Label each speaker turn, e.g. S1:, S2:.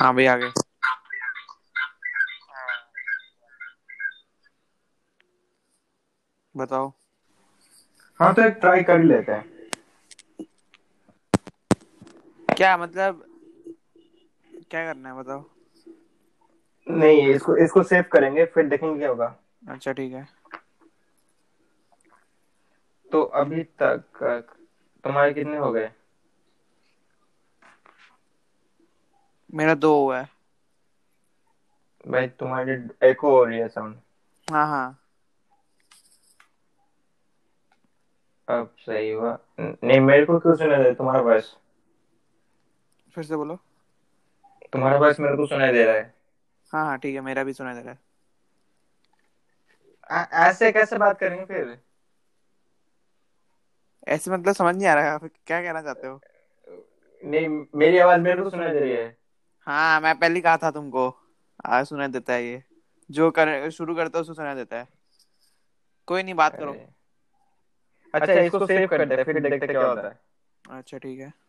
S1: हाँ भाई आ गए बताओ
S2: हाँ तो एक ट्राई कर ही लेते हैं
S1: क्या मतलब क्या करना है बताओ
S2: नहीं इसको इसको सेव करेंगे फिर देखेंगे क्या होगा
S1: अच्छा ठीक है
S2: तो अभी तक अ, तुम्हारे कितने हो गए
S1: मेरा दो हुआ है
S2: भाई तुम्हारे एको हो रही है साउंड
S1: हाँ हाँ
S2: अब सही हुआ न- नहीं मेरे को क्यों सुनाई दे तुम्हारा वॉइस
S1: फिर से बोलो
S2: तुम्हारा वॉइस मेरे को सुनाई दे रहा है
S1: हाँ हाँ ठीक है मेरा भी सुना दे रहा है
S2: आ- ऐसे कैसे बात करेंगे फिर
S1: ऐसे मतलब समझ नहीं आ रहा है आप क्या कहना चाहते हो
S2: नहीं मेरी आवाज मेरे को सुनाई दे रही है
S1: हाँ मैं पहले ही कहा था तुमको आज सुनाई देता है ये जो कर शुरू करता है उसको सुनाई देता है कोई नहीं बात करो
S2: अरे अच्छा इसको सेव करते हैं फिर देखते हैं क्या होता है
S1: अच्छा ठीक है